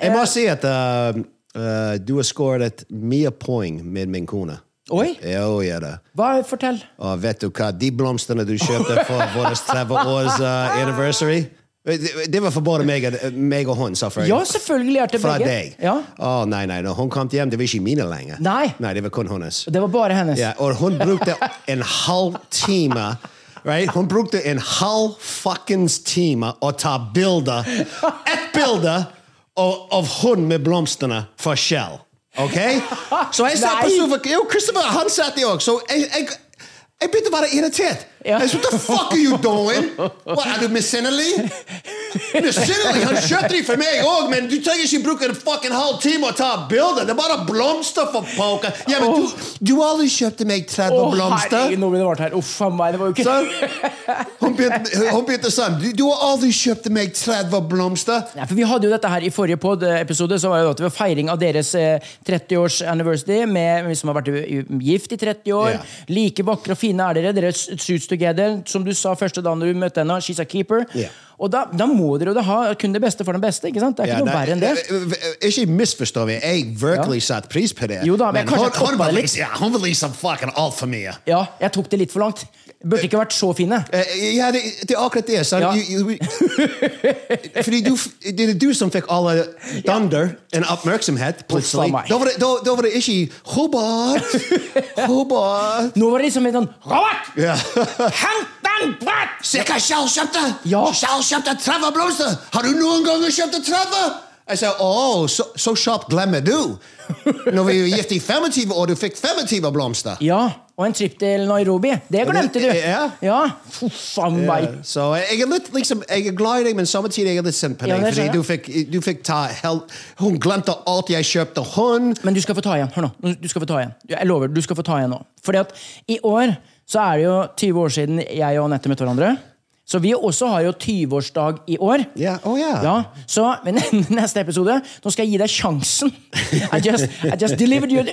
Jeg Eh, må si at uh, uh, du har skåret mye poeng med min kone. Oi. Jo, gjør det. Hva? Fortell. Og vet du hva? De blomstene du kjøpte for vår 30 års uh, anniversary Eh, det, det var for både meg, og- meg og hun, selvfølgelig. Ja, selvfølgelig er det Fra begge. deg. Ah. Ja. Å, nei, nei, når hun kom hjem, det var ikke mine lenger. Nei. nei det var kun hennes. Det var bare hennes. Ja, og hun brukte en halv time right? Hun brukte en halv fuckings time å ta bilder. Ett bilde av, av hun med blomstene forskjell. Ok? Så jeg satt på Nei. sofaen Jo, Christopher, han satt der også. Så jeg, jeg, jeg begynte å være irritert. Ja. Jeg sa, What the fuck are you doing? Hva, er du misunnelig? Misunnelig! Han kjøpte de for meg òg, men du trenger ikke bruke en fucking halv time å ta bilder. Det er bare blomster for poker. Ja, men du, du aldri kjøpte meg 30 Å, blomster. herregud, nå ville det vært her. Uff a meg, det var jo ikke Så, hun begynte hun begynte sånn. Du, du har aldri kjøpt meg 30 blomster. Nei, for Vi hadde jo dette her i forrige pod-episode. så var det jo at det var feiring av deres eh, 30-års anniversary med vi som har vært eh, i- i- gift i 30 år. Ja. Like vakre og fine er dere. Dere shoots together. Som du sa første dagen du møtte henne, she's a keeper. Ja. Og da, da må dere jo da ha kun det beste for den beste. ikke sant? Det er ikke Ja, noe nei, verre enn det. eh, eh, Ikke misforstå meg. Jeg virkelig satte pris på det. Jo da, men kanskje jeg hun, hun, toppa var det litt. liksom, ja, hun var liksom fucking altfor mye. Ja, jeg tok det litt for langt. Burde ikke vært så fine. Eh, Ja, det, det er akkurat det. sant? Ja. You- you- Fordi du, det er du som fikk alle dunder og oppmerksomhet Uff plutselig. a meg. Da var, det, da, da var det ikke 'Hobart', 'Hobart' Nå var det liksom litt sånn Robert! ja. Hent den brett! Se hva Charl kjøpte! Ja. Charl kjøpte 30 blomster! Har du noen ganger kjøpt 30? Jeg sa 'Å, så, så kjapt glemmer du'. Når vi var gift i 25 år, du fikk 25 blomster. Ja, og en trip til Nairobi. Det glemte du. Ja. ja. Uff a meg. Så jeg er litt liksom, jeg er glad i deg, men samtidig er jeg litt sint på Ja, deg. det fordi skjønner du fikk, du fikk ta hel, Hun glemte alt jeg kjøpte hun. Men du skal få ta igjen. Hør nå. Du skal få ta igjen. Jeg lover, du skal få ta igjen nå. Fordi at i år så er det jo 20 år siden jeg og Anette møtte hverandre. Så vi også har jo 20-årsdag i år. Ja, å ja. Så men, neste episode Nå skal jeg gi deg sjansen. I just, I just delivered you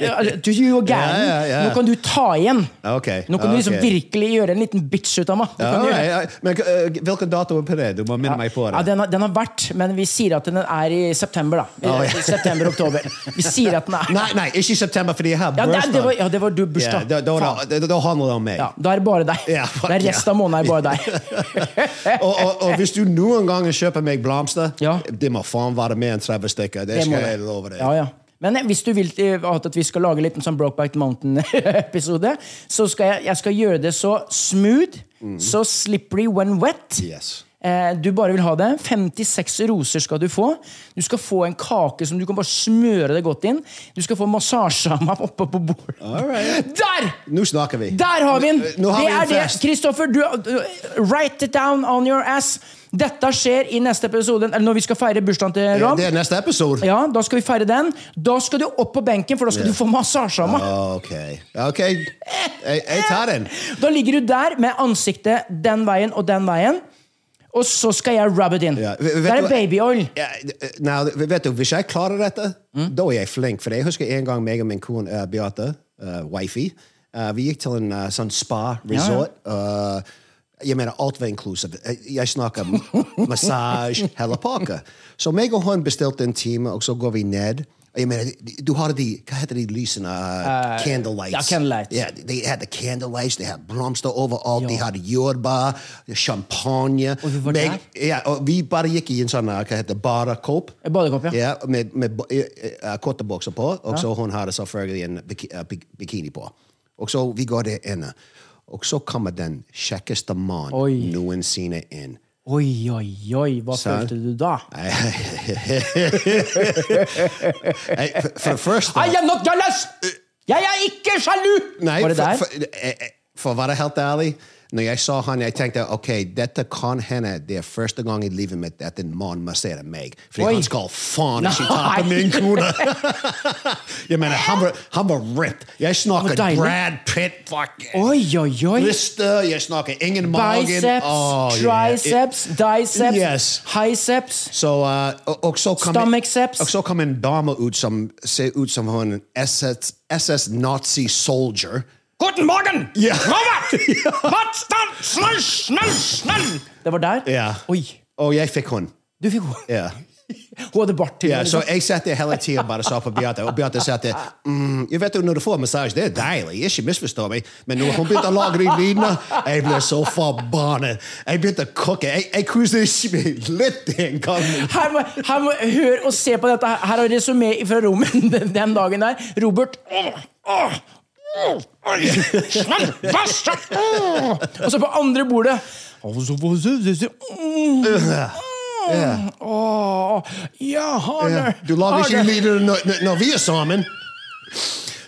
to you again. Ja, ja, ja. Nå kan du ta igjen. Ok, Nå kan du liksom ok. virkelig gjøre en liten bitch ut av meg. Du kan Ja, gjøre det. ja, ja. Men eh, hvilken dato er på det? Du må minne meg på det. Ja, den, har, den har vært, men vi sier at den er i september. da Ja, ja. September-oktober. Vi sier at den er Nei, nei, ikke i september, fordi jeg har Ja, det, bursdag. det var, ja, det var du bursdag. Ja, da, da, da, Faen. da, da handler det om meg. ja, da er det bare deg. Ja, fuck det er resten ja. av måneden er bare deg. og, og, og hvis du noen ganger kjøper meg blomster, Eh, Ja. det må faen være mer enn 30 stykker. Det Det må skal jeg det. love deg. Ja, ja. Men eh, hvis du vil eh, at vi skal lage litt en sånn Brokeback Mountain-episode, så skal jeg, jeg skal gjøre det så smooth, Mm. så slippery when wet. Yes. Eh, Du bare vil ha det. 56 roser skal du få. Du skal få en kake som du kan bare smøre deg godt inn. Du skal få massasje av meg oppe på bordet. Der! Nå snakker vi. Der har vi den! Nå har det vi en er det. fest. Kristoffer, du, du- write it down on your ass. Dette skjer i neste episode, eller når vi skal feire bursdagen til Ja, Rob. Det er neste episode. Ja, Da skal vi feire den. Da skal du opp på benken, for da skal du få massasje av meg. Ok. Ok, Eh. jeg, jeg tar den. Da ligger du der med ansiktet den veien og den veien. Og så skal jeg rub it in. Ja, vet- vet Det du er hva- babyoil. Ja, eh, Nei, vet du, Hvis jeg klarer dette, da er jeg flink. For jeg husker en gang meg og min kone eh, Beate, eh, wifey, eh, vi gikk til en eh, sånn spa-resort. eh, jeg mener, alt var inclusive. Jeg, jeg snakker massasje, hele pakka. Så meg og hun bestilte en time, og så går vi ned. Og Jeg mener, du har de, Hva heter de lysene? Eh, candlelights. ja, candlelights. Ja, de hadde candlelights, de hadde blomster overalt, de hadde jordbær, champagne. oh, Og vi var Meg- der? ja, og vi bare gikk i en sånn uh, hva heter det, barakåp. Badekopp, ja. Ja, med med ba- eh, eh, korte bukser på, og så hun hadde selvfølgelig en biki, eh, bik- bikini på. Og så vi går der inne, og så kommer den kjekkeste mannen Oi. noensinne inn. Oi, oi, oi. Hva følte du da? Nei, for, for det første I am not jealous! Jeg er ikke sjalu! Øh. Nei, Var det der? For, for, eh, eh, for å være helt ærlig, når jeg så han, jeg tenkte ok, dette kan hende det er første gang i livet mitt at en mann masserer meg. Fordi Oi. han skal faen ikke ta Nei. på min kone! jeg mener, han var, han var ripped. Jeg snakker Hvor deilig. Brad Pitt, fuck! Oi, oi, oi. Bryster, jeg snakker ingen magen. Biceps, Åh, Oh, yeah. triceps, diceps, Yes. hiceps. Så, eh, og, og, så kom, Stomach seps. og så kom en dame ut som ser ut som hun er en SS, SS Nazi soldier. Guten morgen! Ja. Vattstand! Snell, snell, snell! Det var der? Ja. Oi. Og jeg fikk hun. Du fikk henne. Ja. Hun hadde bart til. Ja, så jeg satt der hele tida bare sa på Beate, og Beate satt der mm, jeg vet jo, Når du får massasje, det er deilig, ikke misforstå meg, men når hun begynte å lage de lydene, jeg ble så forbannet. Jeg begynte å kokke. Jeg, jeg kunne ikke litt en gang. Her må, her må, hør og se på dette. her. Her har resumé fra rommet den, den dagen der. Robert Åh, åh, åh, oi, snart, vass, åh. Og så på andre bordet Åh, så får du- du- du- mm, mm, åh, Ja, Arne. Du lager ikke Arne. lyder når, når- når vi er sammen.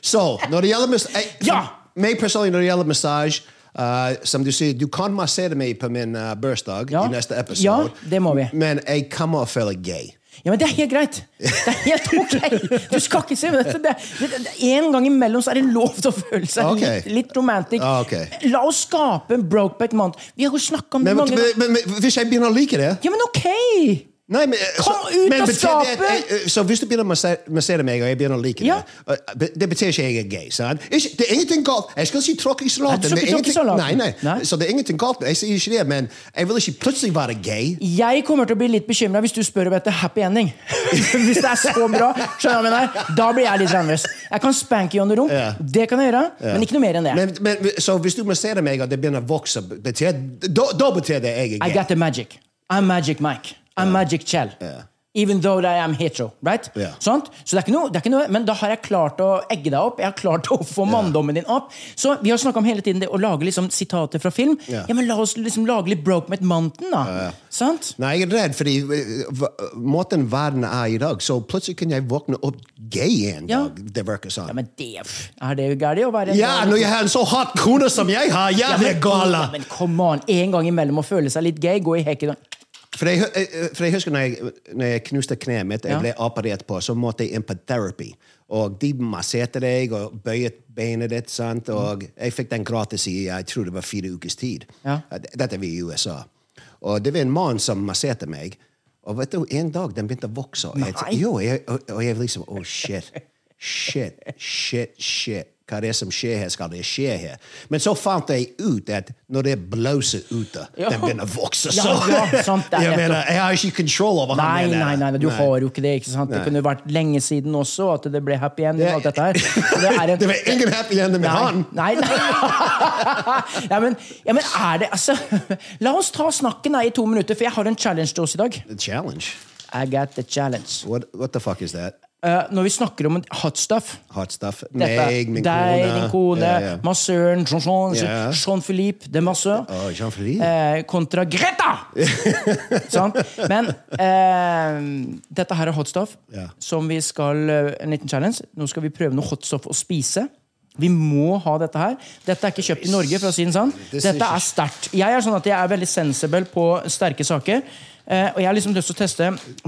Så, når det gjelder massasje Ja. Meg personlig, når det gjelder massasje eh, Som du sier, du kan massere meg på min uh, bursdag Ja. i neste episode. Ja, det må vi. Men jeg kommer å føle gay. Ja, men Det er helt greit. Det er helt ok. Du skal ikke se men dette. Det, det, det, en gang imellom så er det lov til å føle seg Ok. litt, litt romantic. Ah, ok. La oss skape en Brokeback Month. Vi har jo snakka om det Men, men, mange ganger. men, men hvis jeg begynner å like det Ja, men ok! Nei, men, Kom ut av betyr det at- skapet! eh, Så hvis du begynner å masse- massere meg, og jeg begynner å like Ja. det eh, be- Det betyr ikke at jeg er gay. sant? Ikke, det er ingenting galt. Jeg skal si tråkk Nei, i du salaten. skal ikke det er tråkke i ingenting- salaten. Nei, nei. Nei. Så det er ingenting galt. Jeg sier ikke det, men jeg vil ikke plutselig være gay. Jeg kommer til å bli litt bekymra hvis du spør om etter happy ending. hvis det er så bra, skjønner du hva jeg mener? Da blir jeg litt nervøs. Jeg kan spanke you on the rump. Ja. Det kan jeg gjøre, men ikke noe mer enn det. Men, men, så hvis du masserer meg, og det begynner å vokse, betyr, da, da betyr det jeg I er gay. got the magic. I'm Magic Mike. I'm Magic Chell. Even though I am hetero. Right? Ja. Sant? Så det er ikke noe, det er ikke noe, men da har jeg klart å egge deg opp. Jeg har klart å få manndommen din opp. Så vi har snakka om hele tiden det å lage liksom sitater fra film. Ja. Ja, men La oss liksom lage litt Broke Met Mountain, da. Sant? Nei, jeg er redd, fordi eh, v- måten verden er i dag, så plutselig kan jeg våkne opp gay en Ja. dag. Det virker sånn. Ja, Men det pff, Er det gærent å være når jeg har en så hot kone som jeg har, jeg men, blir gala! Ja, men come on, En gang imellom å føle seg litt gay, gå i hekken For jeg, hu- eh, eh, for jeg husker når jeg, når jeg knuste kneet mitt, jeg ble operert på, så måtte jeg inn på therapy. Og de masserte deg og bøyet beinet ditt. Mm. sant? Og jeg fikk den gratis i jeg tror det var fire ukers tid. Ja. Eh, d- Dette var i USA. Og det var en mann som masserte meg. Og vet du, en dag den begynte å vokse. Og jeg, Nei. jo, jeg, og, og jeg liksom Oh, shit. Shit, shit, shit. Hva er det som skjer her? Skal det skje her? Men så fant jeg ut at når det blåser ute, Ja. den begynner å vokse. Ja, Så. ja, sant, det er jeg nettopp. mener, jeg har ikke kontroll over Nei, han. mener nei, jeg. nei, du har jo ikke det. ikke sant? Det kunne vært lenge siden også at det ble happy ending. og alt dette her. Så det er en- Det var ingen happy ending med han! Nei, nei. ja, men, ja, men er det altså, La oss ta snakken da, i to minutter, for jeg har en challenge til oss i dag. The challenge. I got the challenge. What, what the fuck is that? Eh, når vi snakker om hot stuff Hot stuff? dette, Meg, min deg, kone. din kone, Ja, ja. massøren, Jean-Jean, Ja. Jean-Philippe de Masseur. Å, Jean-Philippe. eh, kontra Greta! Sant? Men eh, dette her er hot stuff, Ja. som vi skal eh, En liten challenge. Nå skal vi prøve noe hot stuff å spise. Vi må ha dette her. Dette er ikke kjøpt i Norge. for å si det sånn. Det ser Dette er sterkt. Jeg er sånn at jeg er veldig sensible på sterke saker. Eh, og jeg har liksom lyst til å teste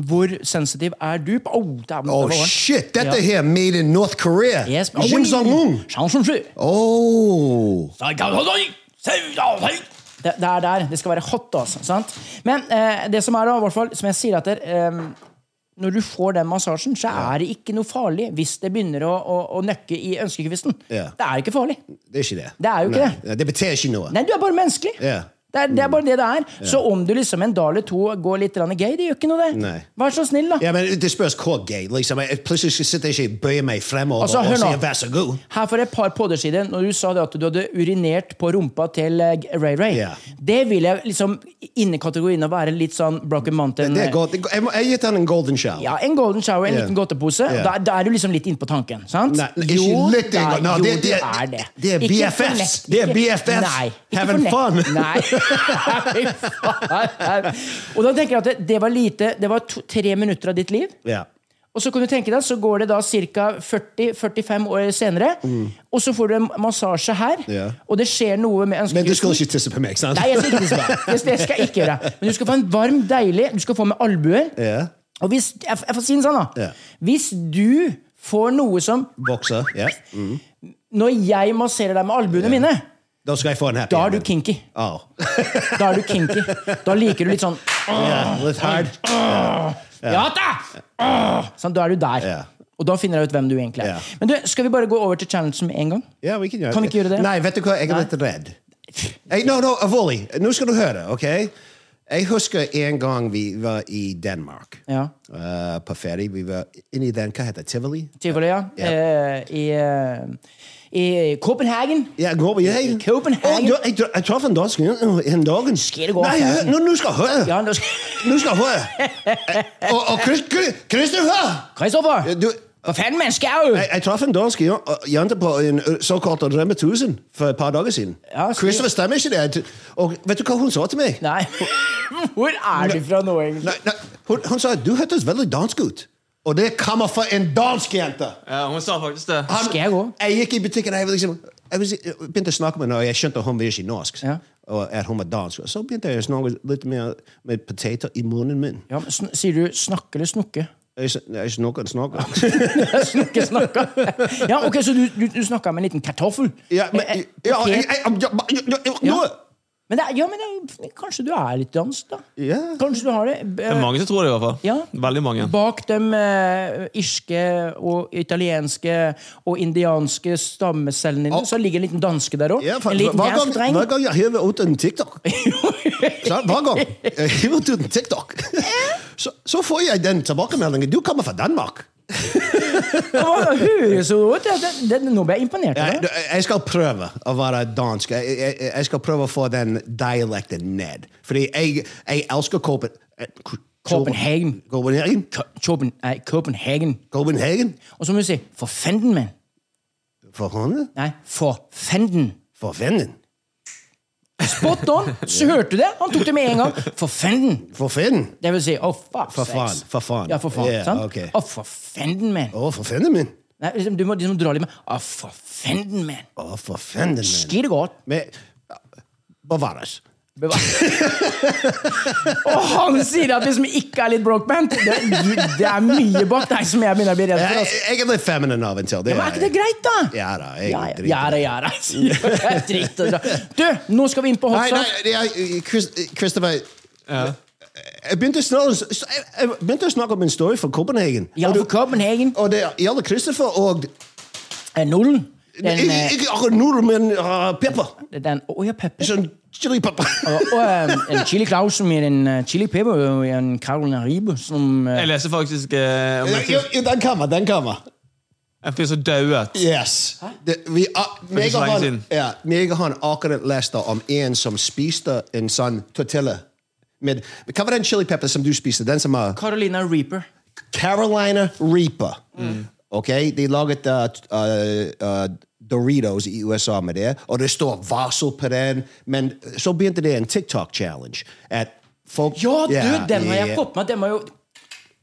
hvor sensitiv er du på oh, dæven, Oh det var varmt. shit, dette Ja. her made in North Korea! Oh, Yes. Kim Jong-un! Jean Zhong Zhu. Oh. Nei, Det, det er der. Det skal være hot. Altså, sant? Men eh, det som er da, i hvert fall, som jeg sier at det, eh, når du får den massasjen, så er det ikke noe farlig hvis det begynner å, å, å nøkke i ønskekvisten. Ja. Det er ikke farlig. Det er ikke det. Det er jo ikke Nei. det. Ja, Det betyr ikke noe. Nei, du er bare menneskelig. Ja. Det, er, det er bare det det er. Så om du liksom en dag eller to går litt grann gay, det gjør ikke noe, det. Nei. Vær så snill, da. Ja, men Det spørs hvor gay. Liksom. Jeg plutselig skal sitte ikke og bøye meg fremover Altså, hør og nå. si 'vær så god'. Her for et par podder siden, når du sa det at du hadde urinert på rumpa til eh, Ray Ray Ja. Det vil jeg liksom inne i kategorien å være litt sånn Broken Mountain. Det er godt. Det er godt. Jeg må- jeg har gitt han en golden shower. Ja, En golden shower, en Ja. liten godtepose. Ja. Da, da er du liksom litt inne på tanken. sant? Nei, ikke litt det er- engang. Nei, jo, det- du det- er det. det er Ikke for BFFs. lett. Det er Ikke- BFFs. Nei, ikke Having for lett. fun. Nei. Fy faen. Og da tenker jeg at det, det var lite Det var to, tre minutter av ditt liv. Ja. Og så kan du tenke deg, så går det da ca. 40-45 år senere, og så får du en massasje her, Mm. Ja. og det skjer noe med Men du skal ønskekusten. ikke tisse på meg, sant? Nei, jeg skal ikke tisse på deg. Det skal- Det skal jeg ikke gjøre. Men du skal få en varm, deilig Du skal få med albuer. Ja. Og hvis jeg, jeg får si det sånn, da. Ja. Hvis du får noe som Bokser. Ja. Mm. Når jeg masserer deg med albuene mine, Da skal jeg få en happy da er du ending. kinky. Åh. Da er du kinky. Da liker du litt sånn Ja, litt hard. Ja da! Åh! Sånn, da er du der. Ja. Og da finner jeg ut hvem du egentlig er. Ja. Men du, Skal vi bare gå over til challengen med en gang? Ja, vi kan gjøre Kan vi ikke gjøre det? Nei, vet du hva? Jeg er litt redd. Hey, no, no, alvorlig. Nå skal du høre, OK? Jeg husker en gang vi var i Danmark. Ja. Eh, på ferie. Vi var inne i den, hva heter det, Tivoli? Tivoli, ja. Ja. Eh, i, eh, I Copenhagen. Ja, går vi hei. Copenhagen. Og da- jeg, tra- jeg traff en dansk en dag. Skal det gå, Nei, hør, Fersen? nå, nå skal jeg høre. Ja, nå skal- Nå skal jeg høre. Eh, Og, og Chris, Chris, Christer, hør! Kristoffer! Du, Hva faen, menneske er du? jeg, jeg traff en dansk jo- jente på en ø, såkalt Remme 1000 for et par dager siden. Ja, skal- Christopher stemmer ikke det? Og vet du hva hun sa til meg? Nei. Hvor er du fra nå, egentlig? Nei, nei, hun, hun sa du hørtes veldig dansk ut. Og det kommer fra en dansk jente. Ja, hun sa faktisk det. Han- Skal jeg gå? Jeg gikk i butikken, og jeg, var liksom, jeg var- jeg begynte å snakke med henne, og jeg skjønte at hun var ikke norsk. Ja. Og at hun var dansk. Og så begynte jeg å snakke litt mer med poteter i munnen min. Ja, men sn sier du snakke eller snukke? Jeg, s- jeg snakker og snakker. snukke, snakka. Ja, ok, Så du, du, du snakka med en liten kartoffel? Ja, men, Eh, eh, ja, potet. jeg, jeg, ja, ba- ja, ja, ja, Ja. nå- men, det, er- ja, men det, er- kanskje du er litt dansk, da? Ja. Kanskje du har det? B- Det er mange som tror det, i hvert fall. Ja. Veldig mange. Bak de eh, irske og italienske og indianske stammecellene dine, så ligger en liten danske der òg. Ja, for, en liten hver, gang, dansk dreng. hver gang jeg hiver ut en TikTok så, Hver gang jeg hiver ut en TikTok, så, så får jeg den tilbakemeldingen. Du kommer fra Danmark. Hva høres det ut? Ja, det- det- Nå ble jeg imponert. Jeg, over det. jeg skal prøve å være dansk. Jeg, jeg, jeg skal prøve å få den dialekten ned. Fordi jeg, jeg elsker Copen... eh, K- Copenhagen. Copenhagen? Kø- Køben- nei, Copenhagen. Copenhagen? Og så må du si 'for fenden', mann. For hånden? Nei, 'for fenden'. For vennen? Spot on! Så hørte du det? Han tok det med en gang. 'For fenden'. For finnen? Det vil si 'å, fuck For faen, for faen. Ja, for faen, Ja, sant? ok. Å, for fenden, mann. Å, for finnen min? Nei, liksom, du må liksom dra litt med 'å, for fenden, mann'. Å, for finnen min. Skide godt. Men, eh, bevares. Beva- og han sier at hvis vi ikke er litt brokeband det, det er mye bak deg som jeg begynner å bli redd for. Jeg, Altså. jeg er litt feminin av og til. Men er ikke det greit, da? Ja da, jeg ja, driter i ja, da, ja, altså. da, sier jeg. Drit og dra. Du, nå skal vi inn på Nei, hot nei, sauce. det er- eh, Chris- Christopher Jeg begynte å snakke, jeg- jeg begynte å snakke om en story fra Copenhagen. Ja, Og du- for Copenhagen. Og det gjelder Christopher og Eh, Nullen. Den, Ikke, eh, ikke akkurat nudel, men uh, pepper. den Å ja, pepper. Sånn chili pepper. Og eh, en chili Clausen med en eh, chili pepper og en Carolina Ribe som eh, Jeg leser faktisk eh, om en Jo, fyr- jo, den kommer, den kommer. en fyr som dauet. Yes. Det, vi, uh, meg så og lenge han, siden. ja, meg og han akkurat leste om en som spiste en sånn tortilla. Med, hva var den chili pepper som du spiste? Den som er Carolina Reaper. Carolina Reaper. Ok, De laget uh, t- uh, uh, Doritos E i USA med det, og det står varsel på den. Men så begynte det en TikTok-challenge. at folk... Ja, du, Ja, den har ja, jeg fått med. Den var jo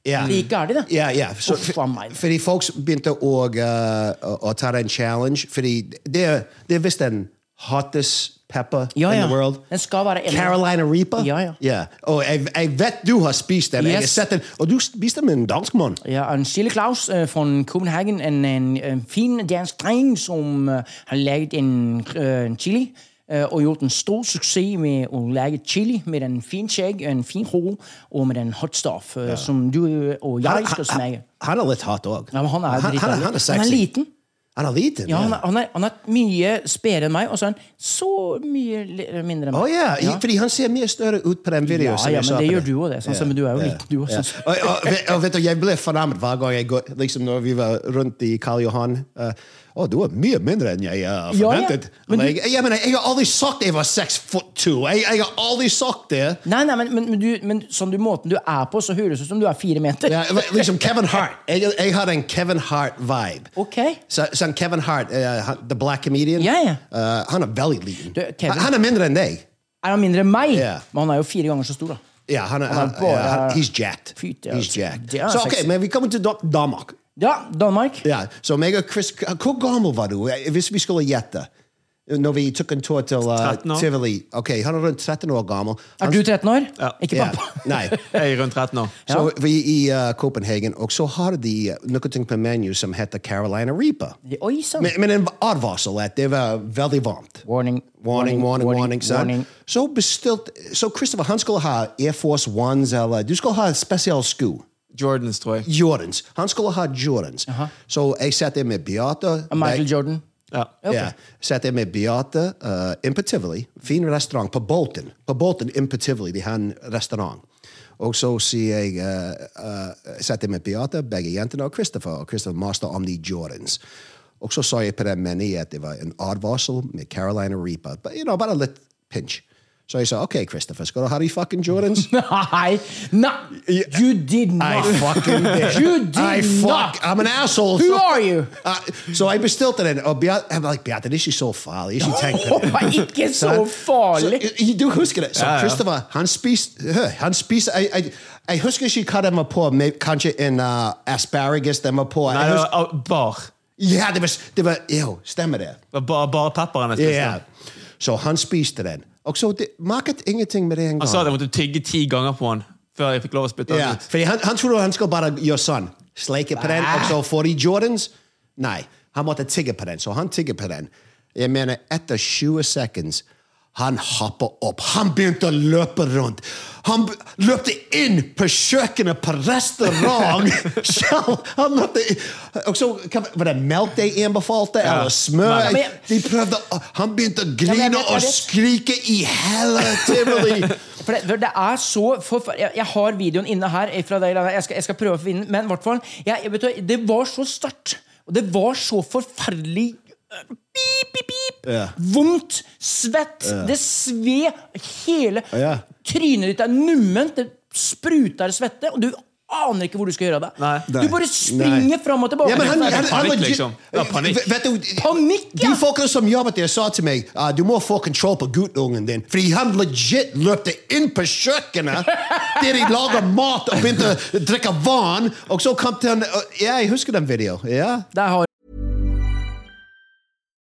ja. Like er de, da. Ja, ja. Så- Uff, faen meg. fordi folk begynte å, uh, å- å ta den challenge, fordi det, er- det er visst den hottest pepper Ja, in ja. the world. Den skal være en- Carolina Reaper? Ja, ja. Og jeg, jeg vet du har spist den. Jeg har Yes. sett den. Og du spiste den med en dansk mann. Ja, og en Chile Claus eh, fra øh, Copenhagen, en, en, en fin dansk dreng som eh, har laget en, eh, en chili eh, og gjort en stor suksess med å lage chili med en fin skjegg, en fin ro og med en hot stuff eh, som du og jeg skal smake. Han er litt hot òg. Ja, men han er han, dritdeilig. han er Han sexy. er liten. Han er liten? Ja, han er, han er, han er mye spedere enn meg, og så er han så mye li- mindre enn meg. Å ja, i- fordi han ser mye større ut på den videoen. Ja, som ja, jeg men sa det på gjør deg. du òg, det. Sånn, som du er jo liten, du òg. Ja. sånn som- Og, og, vet- og vet du, jeg ble fornærmet hver gang jeg går liksom når vi var rundt i Karl Johan. eh, Å, du er mye mindre enn jeg eh, Ja, ja. forventet. Men du- jeg, jeg, mener, jeg har aldri sagt jeg var seks foot two. Jeg, jeg har aldri sagt det. Nei, nei, men, men, men, du, men sånn du, måten du er på, så høres det ut som du er fire meter. Ja, liksom Kevin Hart. Jeg, jeg har en Kevin Hart-vibe. Ok. Så, så han Kevin Hart, eh, han- the black comedian, Ja, ja. eh, han er veldig liten. Du, Kevin- han, han er mindre enn deg. Er han mindre enn meg? Ja. Men han er jo fire ganger så stor, da. Ja, han er, Han er han, bare- ja, han, he's jacked. Fy, det er he's altså- jacked. det er så ok, sexy. men vi kommer til Dan- Danmark. Ja, Danmark. Ja, så meg og Chris, hvor gammel var du, eh, hvis vi skulle gjette? Når vi tok en tur til eh, 13 år. Tivoli. Ok, han er rundt 13 år gammel. Er du 13 år? Ja. Ikke Ja, pappa. Nei. Jeg er rundt 13 år. Så vi i eh, Copenhagen, og så har de eh, noe ting på menu som heter Carolina Reaper. Oi sann. Men, men en advarsel at det var veldig varmt. Warning. Warning, warning, warning. så. warning. Så bestilte Så Christopher, han skulle ha Air Force Ones eller Du skulle ha spesiell sko. Jordans, tror jeg. Jordans. Han skulle ha Jordans. Så jeg satt der med Beate. Michael Jeg- Jordan. Ja. Ja, satt der med Beate eh, inn på Tivoli. Fin restaurant på Bolten. På Bolten inn på Tivoli. De har en restaurant. Og så sier jeg eh, eh, satt der med Beate, begge jentene, og Christopher. Og Christopher maste om de Jordans. Og så sa jeg på den menyen at det var en advarsel med Carolina Reaper. But, you know, bare litt pinch. Så jeg sa OK, Christopher, skal du ha de fucking Jordans? Nei! Nei! You did I not! fucking did. You did I not! fuck. I'm an asshole. Who So- are you? Uh, so I bestilte den. Og Beate, Oh, I'm like, Beate, this is so farlig. Ikke tenk på Det det. var ikke så farlig! Så, du husker det. Så Ja, ja. Christopher, han spiste hør, Han spiste jeg, jeg, jeg husker ikke hva de var på. med- Kanskje en uh, asparagus de var på. Nei, Jeg det husker, var ah, bar. ja, det var, det var Jo, stemmer det. Det var bare, bare pepperen jeg spiste. Ja. Så han spiste den. Og så det merket ingenting med det en gang. Han sa at jeg måtte tygge ti ganger på han før jeg fikk lov å spytte Ja, den ut. fordi han, han trodde han skulle bare gjøre sånn. Sleike på den, og så får de Jordans. Nei, han måtte tigge på den, så han tigger på den. Jeg mener, etter 20 sekunder han hopper opp. Han begynte å løpe rundt. Han b- løpte inn på kjøkkenet på restaurant! Selv, han løpte inn. Og så, hva- Var det melk de anbefalte, eller smør? Nei, men- De prøvde, å- han begynte å men er jeg vet, grine jeg og vet. skrike i hele Tivoli! For det, for det er så forferdelig jeg, jeg har videoen inne her. Fra deg, Lana. jeg, skal, jeg skal prøve å finne den. Men i hvert fall, jeg, jeg, vet du, hva, det var så sterkt. Og det var så forferdelig øh, Pip, pip, pip! Vondt, svett, det sved hele Ja. Trynet ditt er numment, det spruter svette, og du aner ikke hvor du skal gjøre av deg. Nei. Du bare springer Nei. fram og tilbake. Ja, men han, Det han, er han, panikk, legit- liksom. Det er panikk. Vet du, Panikk, ja. De folkene som jobbet der, sa til meg ah, du må få kontroll på guttungen din. Fordi han legit løpte inn på kjøkkenet der de lager mat og begynte å drikke vann. Og så kom til han Ja, jeg husker den videoen. Ja. Der har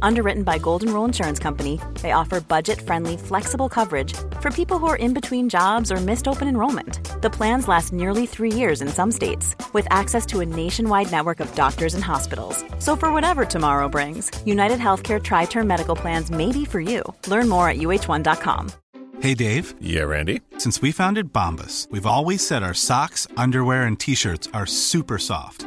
Underwritten by Golden Rule Insurance Company, they offer budget friendly, flexible coverage for people who are in between jobs or missed open enrollment. The plans last nearly three years in some states, with access to a nationwide network of doctors and hospitals. So, for whatever tomorrow brings, United Healthcare Tri Term Medical Plans may be for you. Learn more at uh1.com. Hey Dave, Yeah, Randy. since we founded Bombus, we've always said our socks, underwear, and t shirts are super soft.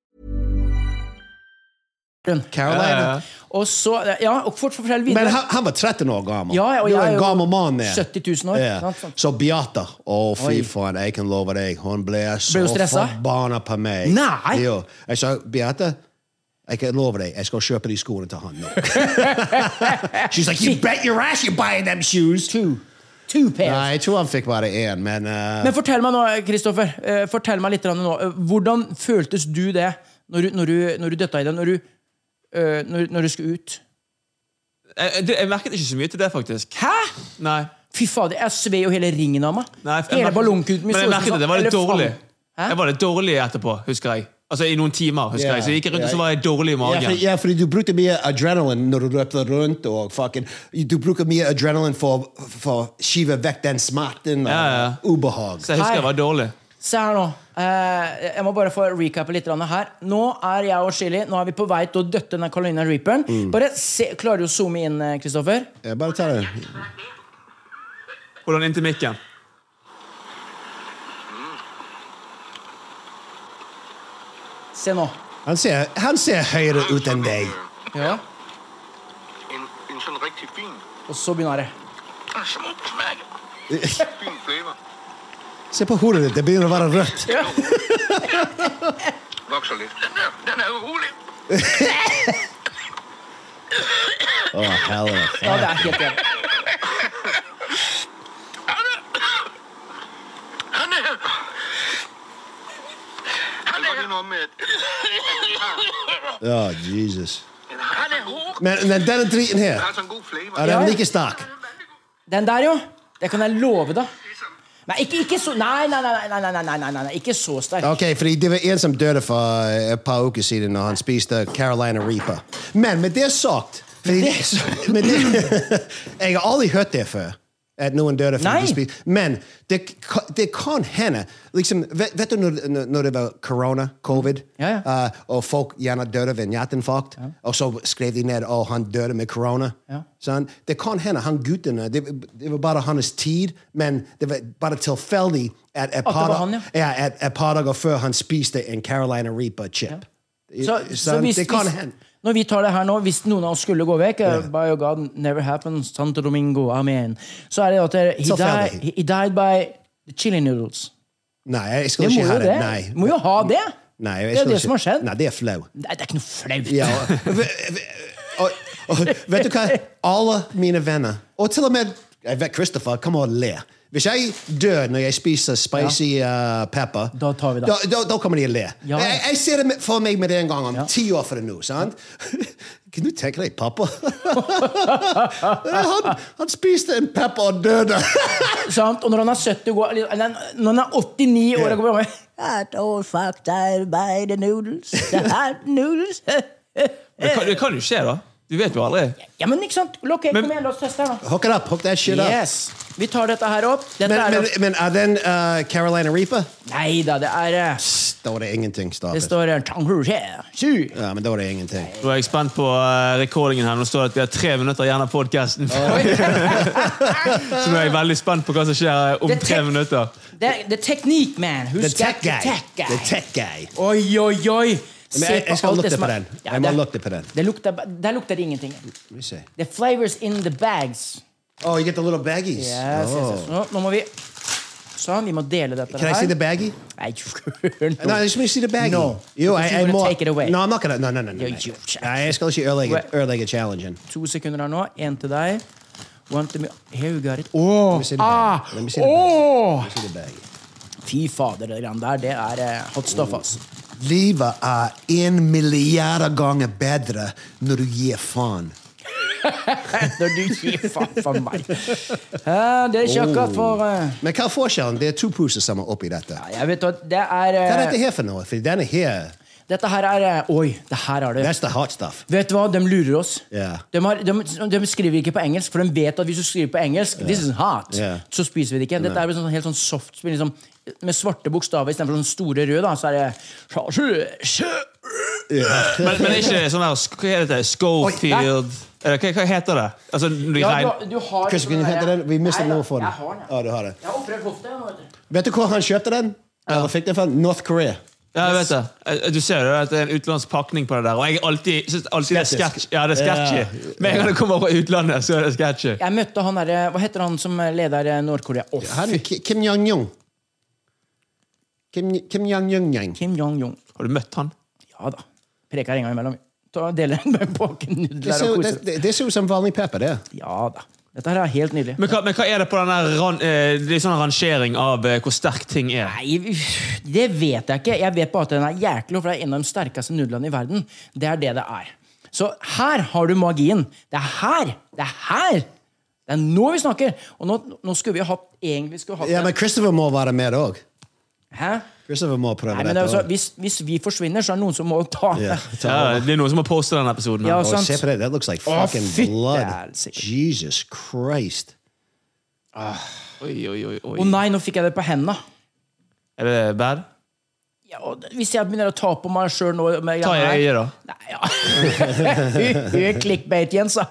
du den. Carolina. Og så, ja, og fort fortell videre. Men han, han var 13 år gammel. Ja, ja, og du jeg er er en jo gammel mann. der. 70 000 år, Ja. sant, sant. Så Beate Å, Oi. fy faen, jeg kan love deg. Hun ble så Ble hun stressa? forbanna på meg. Nei. Jo. Jeg sa, Beate, jeg kan love deg, jeg skal kjøpe de skoene til han nå. She's like, you bet your ass you're buying them shoes. Two. Two pairs. Nei, jeg tror han fikk bare én, men eh, Men fortell meg nå, Kristoffer. eh, Fortell meg litt grann nå. eh, Hvordan føltes du det når du, når du, når du døtta i det? Når du øh, når, når du skulle ut? Jeg, du, jeg merket ikke så mye til det, faktisk. Hæ? Nei. Fy fader, jeg sved jo hele ringen av meg. Nei, jeg hele merket- ballongkuten min Men så jeg ut merket som det. Det var litt elefant. dårlig. Jeg var litt dårlig etterpå, husker jeg. Altså I noen timer, husker Ja, jeg. Så jeg gikk rundt, og ja. så var jeg dårlig i Ja, for, magen. ja, fordi du brukte mye adrenalin når du løper rundt. og fucking, Du bruker mye adrenalin for for å skyve vekk den smerten og Ja, ubehag. Så jeg husker jeg var dårlig. Se her nå. Eh, jeg må bare få recappe litt grann her. Nå er jeg og Chili Nå er vi på vei til å døtte den Carolina Reaperen. Mm. Bare se, Klarer du å zoome inn, eh, Kristoffer? Ja, Bare ta den. Hold den inntil mikken. Se nå. Han ser, han ser høyere ut enn deg. Ja. En, en sådan rigtig fin, Og så begynner det. ah, smuk smag. fin flavor. Se på hodet ditt. Det begynner å være rødt. Vokser lidt. Den er, den er uhulig. Å, helvete. Ja, det er helt jævlig. Han er... Han er... noget med, at- Å, Jesus. han er god. Men, men denne driten her, Han har sådan en god flavor. er den like sterk? Den der, jo. Det kan jeg love deg. Nei, ikke, ikke så Nei, nei, nei, nei, nei, nei, nei, nei, nei. ikke så sterk. Ok, fordi Det var en som døde for eh, et par uker siden når han spiste Carolina Reaper. Men med det sagt fordi, med det, Jeg har aldri hørt det før. At noen døde fordi Nei. de spiste Men det, ka- det kan hende liksom, vet, vet du når, når- når det var korona, covid, eh, og folk gjerne døde ved en hjerteinfarkt, og så skrev de ned at han døde med korona? Sånn? Det kan hende han guttene det, det var bare hans tid, men det var bare tilfeldig at et At det par, var han, ja. ja, et, et par dager før han spiste en Carolina Reaper-chip. Så, så hvis, det kan hvis, hende. når vi tar det her nå, hvis noen av oss skulle gå vekk eh, By your God, never happens, Santo Domingo, amen. Så er det at eh, he, Tilfeldig. died- he died by the chili noodles. Nei, jeg Det skulle må ikke jo ha det. det. Nei. Må jo ha det. Nei, jeg Det er skulle det ikke- som har skjedd. Nei, det er flau. Nei, det er ikke noe flaut. Ja, og, og, og, vet du hva? Alle mine venner, og til og med jeg vet Christopher, kommer og ler. Hvis jeg dør når jeg spiser spicy uh, pepper, da, tar vi det. da, da kommer de og ler. Ja. Jeg, jeg ser det med- for meg med det en gang om ti år fra nå. sant? Kan du tenke deg, pappa? han, han spiste en pepper og døde. Sant? Og når han er 70 går, eller, eller Når han er 89 år Ja. og går bare All fucked out by the noodles. The hot noodles. Men det kan, det kan jo skje, da. Du vet jo aldri. ja, men ikke sant? Ok, Men- kom igjen, la oss teste her, da. Hook it up. Hook that shit up. Yes. Vi tar dette her opp. Dette Men, er men, opp. men er den eh, Carolina Reaper? Nei da, det er eh, Da var det ingenting. Stop Det it. Um, står eh, Chang Hu She. Sju. Ja, men da var det ingenting. Nå er jeg spent på eh, recordingen her. Nå står det at vi har tre minutter igjen av podcasten så nå er jeg veldig spent på hva som skjer eh, om Det er tre tek- minutter. Det er The Technique Man. The Husk tech guy. The tech The guy. tech guy. Oi, oi, oi. Men jeg, jeg skal alt lukte som på er- den. Ja, Jeg må det- lukte på den. Det lukter, der lukter det ingenting. Let me see. The flavors in the bags. Oh, you get the little baggies. Yes, yes, oh. yes. Nå, nå må vi Sånn, vi må dele dette Can I see the baggie? Nei, skjønn. No, let me see the baggie. No. You, I, Because you I wanna more, take it away. No, I'm not gonna. No, no, no, no. Yeah, no. you- I just gonna see early, Wait. early challenging. To sekunder her nå. Én til deg. One to me. Here you got it. Let Åh, me see the ah, baggie. Let me see the baggie. åh. Let me see the baggie. Fy fader, det grann der. Det er eh, hot stuff, ass. Livet er en milliard ganger bedre når du gir faen. Når du gir faen for meg. Eh, det er ikke akkurat for eh, Men hva er forskjellen? Det er to poser som er oppi dette. Jeg vet at det er Hva er eh, dette her for noe? For denne her, Dette her er eh, Oi, det her er det. that's the hot stuff. Vet du hva? De lurer oss. Yeah. De, har, de, de skriver ikke på engelsk, for de vet at hvis du skriver på engelsk This is hot Ja. Så spiser vi det ikke. Dette er vel sånn, helt sånn soft spill, liksom, med svarte bokstaver istedenfor sånne sånn store røde. Da, så er det Men, men ikke sånn der sk- Hva heter det? Schofield Eller hva, hva heter det? Altså, når de ja, du, regner- har- du har Chris, kan du hente den? Vi mistet Nei, noe for den. Jeg har den. Ja, du har det. Jeg har operert hofta. jeg nå, vet du. Vet du hvor han kjøpte den? Eller fikk den fra? North Korea. Ja, jeg vet det. Jeg- Du ser jo at det er en utenlandsk pakning på det der. Og jeg er alltid, synes alltid det er Skeptisk. sketch. Ja, det er sketchy. Med en gang det kommer fra utlandet, så er det sketchy. Jeg møtte han derre Hva heter han som leder eh, Nord-Korea? Å, Han, fy- Ki- Kim Jong-un. Kim, Kim Jong-un. Kim Jong-un. Har du møtt han? Ja da. Preker en gang imellom. Ta og Deler en pakke Det nudler ser og ut- koser oss. det- det ser ut som vanlig pepper, det. Ja da. Dette her er helt nydelig. Men hva, men hva er det på den der ran, eh, det er sånn rangering av eh, hvor sterk ting er? Nei, uff, det vet jeg ikke. Jeg vet bare at den er jæklig, for det er en av de sterkeste nudlene i verden. Det er det det er. Så her har du magien. Det er her! Det er her! Det er nå vi snakker! Og nå, nå skulle vi hatt egentlig skulle hatt Ja, men Christopher må være med òg. Hæ? Christopher må prøve Nei, men det dette er altså, også. hvis, hvis vi forsvinner, så er det noen som må ta Ja, Ja, det er noen som har postet denne episoden. Ja, Oh, sant. se på det. That looks like er Å, fucking fytte blood. Jesus Christ. Oi, oi, oi, Å oi. nei, nå fikk jeg det på henda. Er det bad? Ja, og hvis jeg begynner å ta på meg sjøl nå med Ta i øyet, da. Hun clickbait, Jens. da.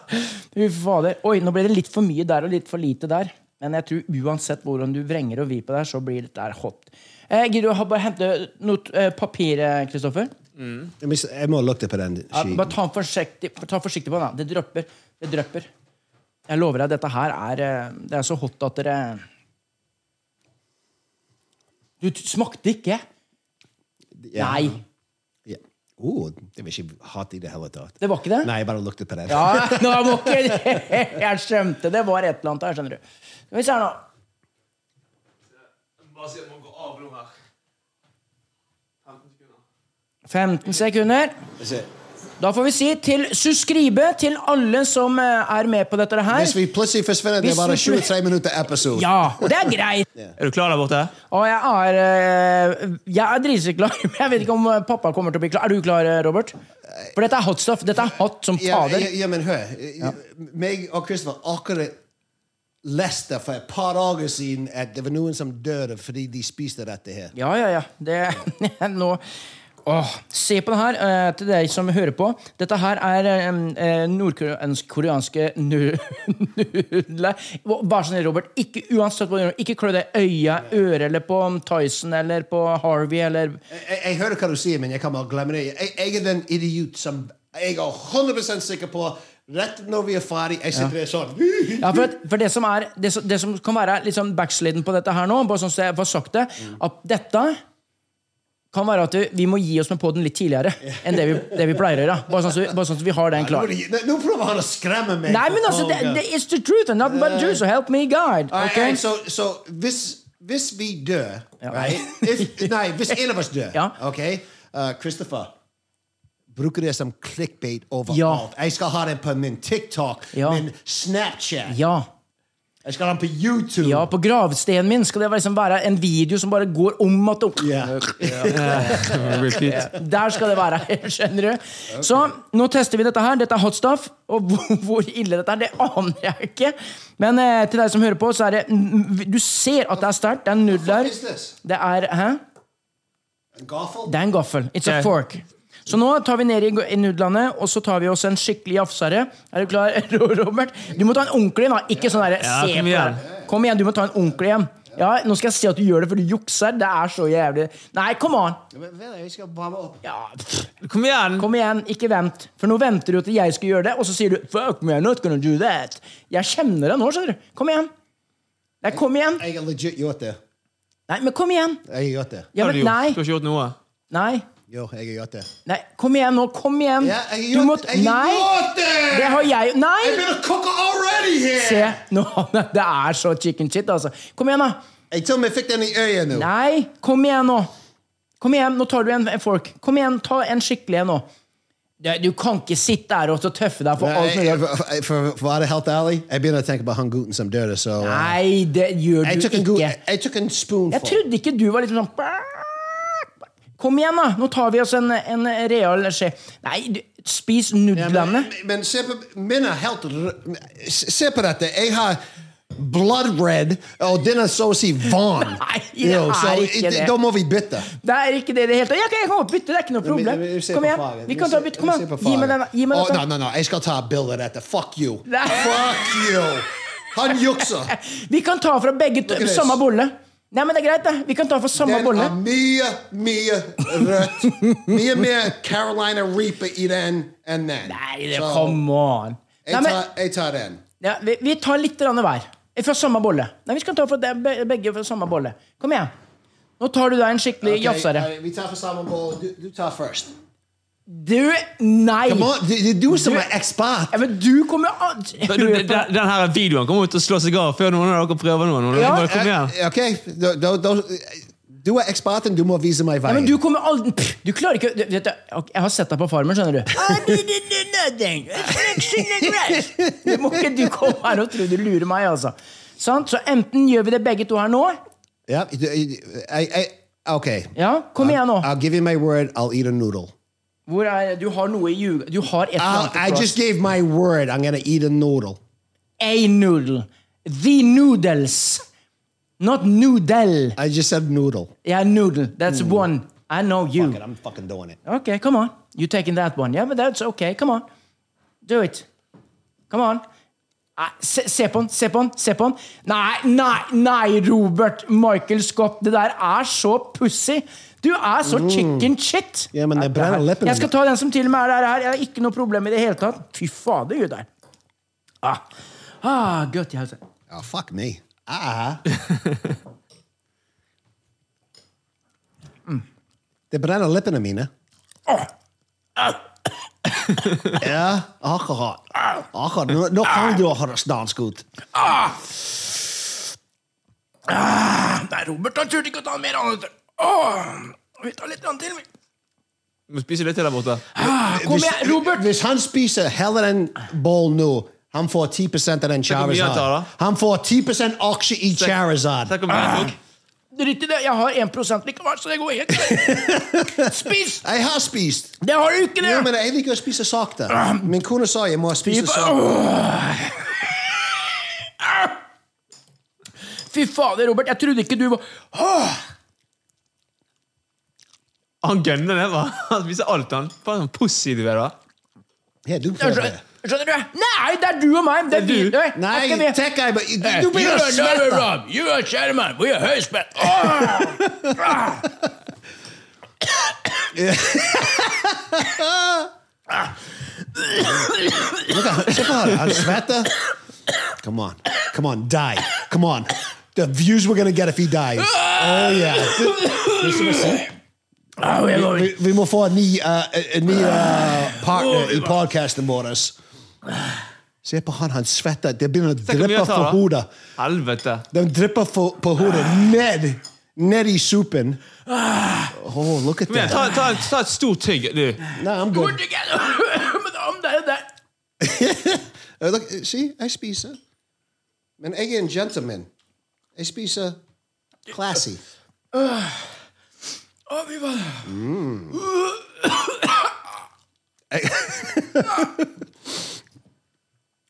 Fy fader. Oi, nå ble det litt for mye der og litt for lite der. Men jeg tror uansett hvordan du vrenger og vrir på der, så blir det der hot. Eh, Gidder du ha- bare hente noe eh, papir, eh, Kristoffer? Jeg mis- Jeg må lukte på den Ja, skiten. bare ta forsiktig, ta forsiktig på den. da. Det drypper. Det drypper. Jeg lover deg, dette her er eh, Det er så hot at dere Du t- smakte ikke? Ja. Nei. Ja. Oh, det var ikke hot i det hele tatt. Det var ikke det? Nei, jeg bare lukte på det. Ja, nå må ikke Jeg skjønte det var et eller annet her, skjønner du. Skal vi se her nå. Bare si at man går av 15 sekunder. Da får vi si til suskribe til alle som eh, er med på dette her. Hvis vi plutselig forsvinner, det er Hvis bare vi- 23 minutter episode. Ja, og det er greit. Er du klar der borte? Og jeg er eh, Jeg er dritklar. men Jeg vet ikke om eh, pappa kommer til å bli klar. Er du klar, eh, Robert? For dette er hot stuff. Dette er hot som Ja, fader. ja, ja, men hør. Meg og Christopher akkurat leste for et par dager siden at det var noen som døde fordi de spiste dette her. Ja, ja, ja. Det, nå, åh, se på det her, eh, til dere som hører på. Dette her er eh, nordkoreanske nu- nudler. Hva- Vær så snill, Robert. Ikke uansett hva du gjør, ikke klø deg i øya, øret eller på Tyson eller på Harvey eller Jeg, jeg hører hva du sier, men jeg kan bare glemme det. Jeg, jeg er den idiot som jeg er 100 sikker på Rett når vi er ferdig, jeg sitter der sånn Ja, for, at, for det, som er, det, som, det som kan være litt sånn backsliden på dette her nå, bare sånn så jeg får sagt det, at dette kan være at vi, vi må gi oss med podden litt tidligere enn det vi, det vi pleier å gjøre. Bare sånn at så vi har den Nå, klar. nå prøver han å skremme meg. Nei, men altså, det, det, it's the truth and nothing but the truth, so help me God. Eh. All right, all Okay? right, Så så hvis, hvis vi dør right? If, Nei, hvis en av oss dør, ok? Uh, Christopher, bruker det er som clickbait overalt. Jeg skal ha den på min TikTok, min Snapchat. Ja. Jeg skal ha den på YouTube. Ja, på gravstenen min skal det liksom være en video som bare går om at Der skal det være. Skjønner du? Så nå tester vi dette her. Dette er hot stuff. Og hvor, hvor ille dette er, det aner jeg ikke. Men eh, til deg som hører på, så er det mm, Du ser at det er sterkt. Det er nudler. Det er Hæ? Det er en gaffel. It's a Ok. fork. Så nå tar vi ned i, i nudlene, og så tar vi oss en skikkelig jafsere. Er du klar, Robert? Du må ta en ordentlig en, da. Ikke sånn derre Ja, se kom på igjen. den. Kom igjen, du må ta en ordentlig en. Ja, nå skal jeg se at du gjør det, for du jukser. Det er så jævlig Nei, come on! Jeg skal bare opp. Kom igjen! Kom igjen, ikke vent. For nå venter du til jeg skal gjøre det, og så sier du Fuck me, I'm not gonna do that. Jeg kjenner deg nå, skjønner du. Kom igjen. Nei, kom igjen. Jeg har legit gjort det. Nei, men kom igjen. Jeg har gjort det. Ja, Har men du gjort? nei. Du har ikke gjort noe? Nei. Jo, jeg har gjort det. Nei, kom igjen nå. Kom igjen. Ja, jeg Du har må gjort, jeg er har Nei. gjort det! Det har jeg Nei! I've been a cooker already here! Se, nå, det er så chicken shit, altså. Kom igjen, da. Jeg til og med fikk den i øyet nå. Nei, kom igjen nå. Kom igjen, nå tar du en en fork. Kom igjen, ta en skikkelig en nå. Du, du kan ikke sitte der og så tøffe deg for Nei, alt mulig. jeg- for, for, for, for å være helt ærlig, jeg begynner å tenke på han gutten som døde, så uh, Nei, det gjør jeg du tok en, ikke. god, jeg- jeg tok en Jeg spoonful. trodde ikke du var liksom sånn Kom igjen, da! Nå tar vi oss en, en real skje. Nei, du, spis nudlene. Men, men se på min er helt r- Se på dette. Jeg har blood red, og den er så å si van. Nei, det Jo, er så ikke i- det. Da må vi bytte. Det er ikke det i det hele tatt. Ja, ok, Jeg kan godt bytte, det er ikke noe Vi- problem. vi- vi ser Kom på igjen. fargen. Vi kan ta ser- bytte. Kom vi ser igjen. på Gi meg fargen. denne. Gi meg Å, dette. Nei, nei, nei. Jeg skal ta et bilde av dette. Fuck you. Nei. Fuck you. Han jukser. Vi kan ta fra begge to, Look at this. samme bolle. Nei, men det er greit, det. Vi kan ta fra samme Den bolle. er mye, mye rødt. Mye mer Carolina Reaper i den enn den. Nei, det, Så, come on. Nei, Jeg men, tar, jeg tar den. ja, vi, vi tar litt grann hver. Fra samme bolle. Nei, vi skal ta fra de, be- begge fra samme bolle. Kom igjen. Nå tar du deg en skikkelig Ok, jafsere. eh, Vi tar for samme boll. Du, du tar først. Du Nei! Come on, Det det er du som Du- er ekspert. Ja, men du kommer an... Du, du, den, den her videoen kommer ut og slår seg av før noen av dere prøver noe. Noen av dere Ja. bare, kom igjen. Ok, da, da, da, Du er eksperten, du må vise meg Ja, veien. men du kommer aldri pff, Du klarer ikke du, vet, du, ok, Jeg har sett deg på Farmen, skjønner du. Ah, Du må ikke du komme her og tro du lurer meg, altså. Sant? Så enten gjør vi det begge to her nå. Ja, du- jeg, jeg, ok. Ja, kom igjen nå. I'll give you my word, I'll eat a noodle. Hvor er Du har noe i ljuga Du har et eller I'll, annet Ah, I plass. just gave my word, I'm gonna eat a noodle. A noodle. The noodles. Not noodle. I just said noodle. Yeah, noodle. That's one. I know you. Mm. Fuck it, I'm fucking doing it. Okay, come on. You taking that one? Yeah, but that's okay. Come on, do it. Come on. Nei, Se, se på han, se på han, se på han. Nei, nei, nei, Robert Michael Scott. Det der er så pussig. Du er så chicken shit. Mm. Ja, men det brenner leppene. Jeg skal ta den som til og med er der her. Jeg har ikke noe problem i det hele tatt. Fy fader, gud der. Ah, ah godt jeg har sett. Oh, fuck me. Ah. Det brenner leppene mine. ja, akkurat. akkurat. Nå, nå kan du høres dansk ut. Ah! Ah, nei, Robert han turte ikke å ta mer annet. Åh, vi tar litt grann til. vi. Du må spise litt til der borte. Kom igjen, Robert! Eh, Hvis han spiser heller en boll nå, han får 10 av den hvor mye han tar, Charizard. da. Han får 10 aksje i Charizard. Tenk om jeg tok. Drit i det, jeg har 1 likevel, så det går helt Spis! Jeg har spist! Det har du ikke, det! Ja, men jeg liker å spise sakte. Min kone sa jeg må Fy spise fa- sakte. Åh. Ah. Fy fader, Robert, jeg trodde ikke du var Åh, Han gønner det, hva? Han spiser alt, han. Faen, sånn pussy du er, da. Ja, du jeg prøver. skjønner, skjønner du? Nei, det er du og meg! Det er vi. Det er du. Nei, det Nei, er ikke vi. tenk deg bare- Du du begynner å svette! You are chairman. We are husband. Åh! Ah. Look at her. Se på her. Han svetter. Come on. Come on, die. Come on. The views we're gonna get if he dies. Oh, yeah. Ah, vi må- Vi, vi må få en ny, eh, en ny eh, partner i podcasten vår. Se på han, han svetter. Det begynner å Tenk hvor mye dryppe han tar, fra da. hodet. Helvete. De drypper for, på hodet ned, ned i suppen. Oh, look at Ah. Kom igjen, that. ta, ta, ta et stort tygg, du. No, I'm Hvor good. du kan- Men om det er det. Uh, look, uh, see, I spiser. Men jeg er en gentleman. Jeg spiser classy. Å, fy fader. Mm.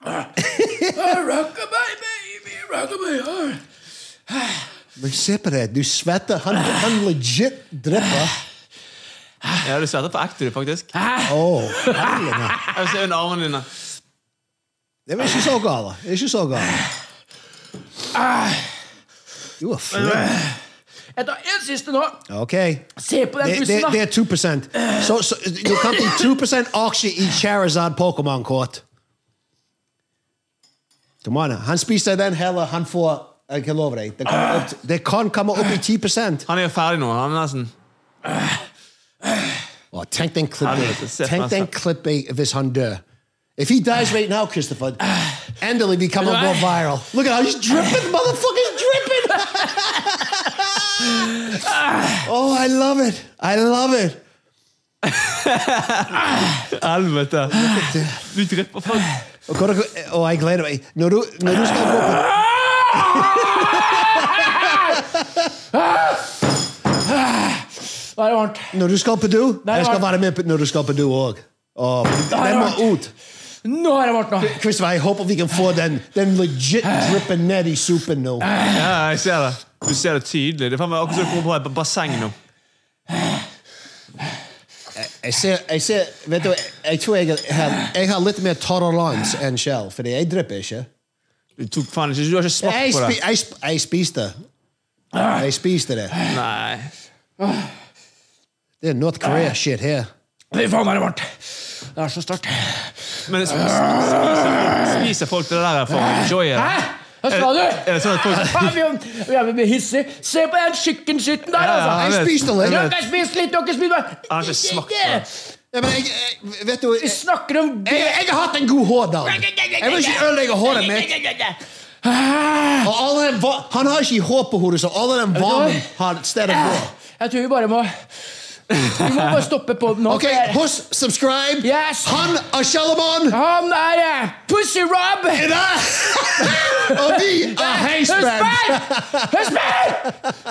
Ah, Rockabye, baby, rockabye. ah. Men se på det, du svetter. Han, han legit drypper. Ja, du svetter på ekte, du, faktisk. Oh, helvete. Jeg vil se under armene dine. det var ikke så galt. Det er ikke så galt. Du er flink. Jeg tar en siste nå. Ok. Se på den Det, det, bussen, det da. er 2 Så, så Du kan til 2 aksje i Charizard Pokémon-kort. Kom an, Han spiser den heller. Han uh, får Jeg kan love deg. Det kan, opp, det kan komme opp i 10 Han er jo ferdig nå. Han er nesten Oh, tenk den Helvete, se klippet. for Tenk den meg. klippet hvis han dør. If he dies right now, Christopher, endelig vi kommer Vet gå du hva? viral. Look at how he's dripping, motherfucker's dripping! oh, I love it. I love it. Helvete. Du drypper faen. Og hvor- og jeg gleder meg. Når du, når du skal gå på Da er det varmt. Når du skal på do, er jeg skal varmt. være med på, når du skal på do òg. Oh, er den varmt. må ut. Nå er det varmt nå. Christopher, jeg håper vi kan få den, den legit dripping nou. ned i suppen nå. Ja, jeg ser det. Du ser det tydelig. Det er faen meg akkurat som du kommer på et basseng nå. Jeg ser, jeg ser, vet du, jeg tror jeg har, jeg har litt mer tolerance enn Kjell, fordi jeg drypper ikke. Du tok faen ikke Du har ikke Jeg, smakt på spi, det. jeg, sp- jeg spiste. Jeg spiste det. Nei. Det er North Korea-shit her. Fy faen, er det varmt. Det er så sterkt. Men sp- spiser, spiser folk det der for å enjoye det? Hæ? Hva sa du? Er det sånn at folk Faen, vi- vi er hissige. Se på den chickenskitten der, Ja, ja, altså. jeg Jeg vet. spiste litt. Jeg vet. Dere spiser litt, dere spiser bare. Jeg har ikke smakt på det. Ja, men jeg, jeg, vet du, Vi jeg, snakker om jeg, jeg har hatt en god hårdag. Jeg vil ikke ødelegge håret mitt. Ah! Og alle den, va- han har ikke hår på hodet, så alle den varmen har et sted å gå. Ah! Jeg tror vi bare må Vi må bare stoppe på den nå. Ok, husk, subscribe. Han er Shalomon. Han er eh, Pussy Rob. Og vi er Heisband.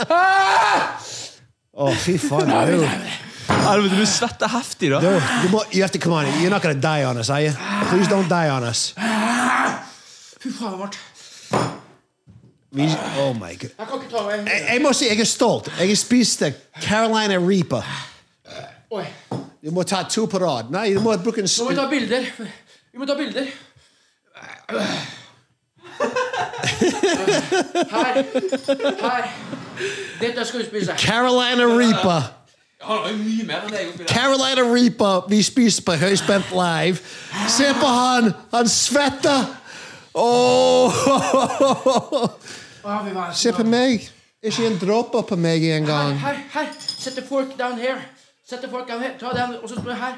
Ah! Å, fy faen. det er jo- Alvin, du svetter heftig, da. Dude, you, mo- you have to come on. You're not going to die on us, are you? Please don't die on us. Fy faen, Mart. We, oh my god. Jeg kan ikke ta meg. Jeg, jeg må si jeg er stolt. Jeg spiste Carolina Reaper. Oi. Du må ta to på rad. Nei, du må bruke en Nå må vi ta bilder. Vi må ta bilder. Her. Her. Dette skal du spise. Carolina Reaper. Han har jo mye mer enn deg oppi Carolina Reaper vi spiser på Høyspent Live. Se på han! Han svetter! Åh. Å, fy faen. Se på meg. Ikke en dråpe på meg engang. Her, her. Set the fork down here. Set the fork down here. Ta den, og så står det her.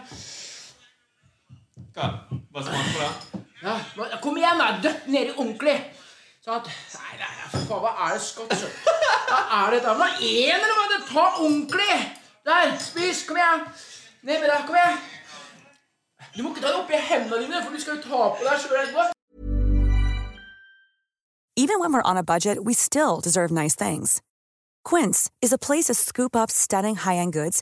Bare smak på det. Ja, hva- kom igjen, da! Døtt nedi ordentlig! Sånn at Nei, nei, nei, for faen, hva er det skatt? søren? Hva er det der? Hva er det, eller hva? er det? Ta ordentlig! Der, spis! Kom igjen! Ned med deg, kom igjen! Du må ikke ta det oppi hendene dine, for du skal jo ta på deg sjøl etterpå. Even when we're on a budget, we still deserve nice things. Quince is a place to scoop up stunning high-end goods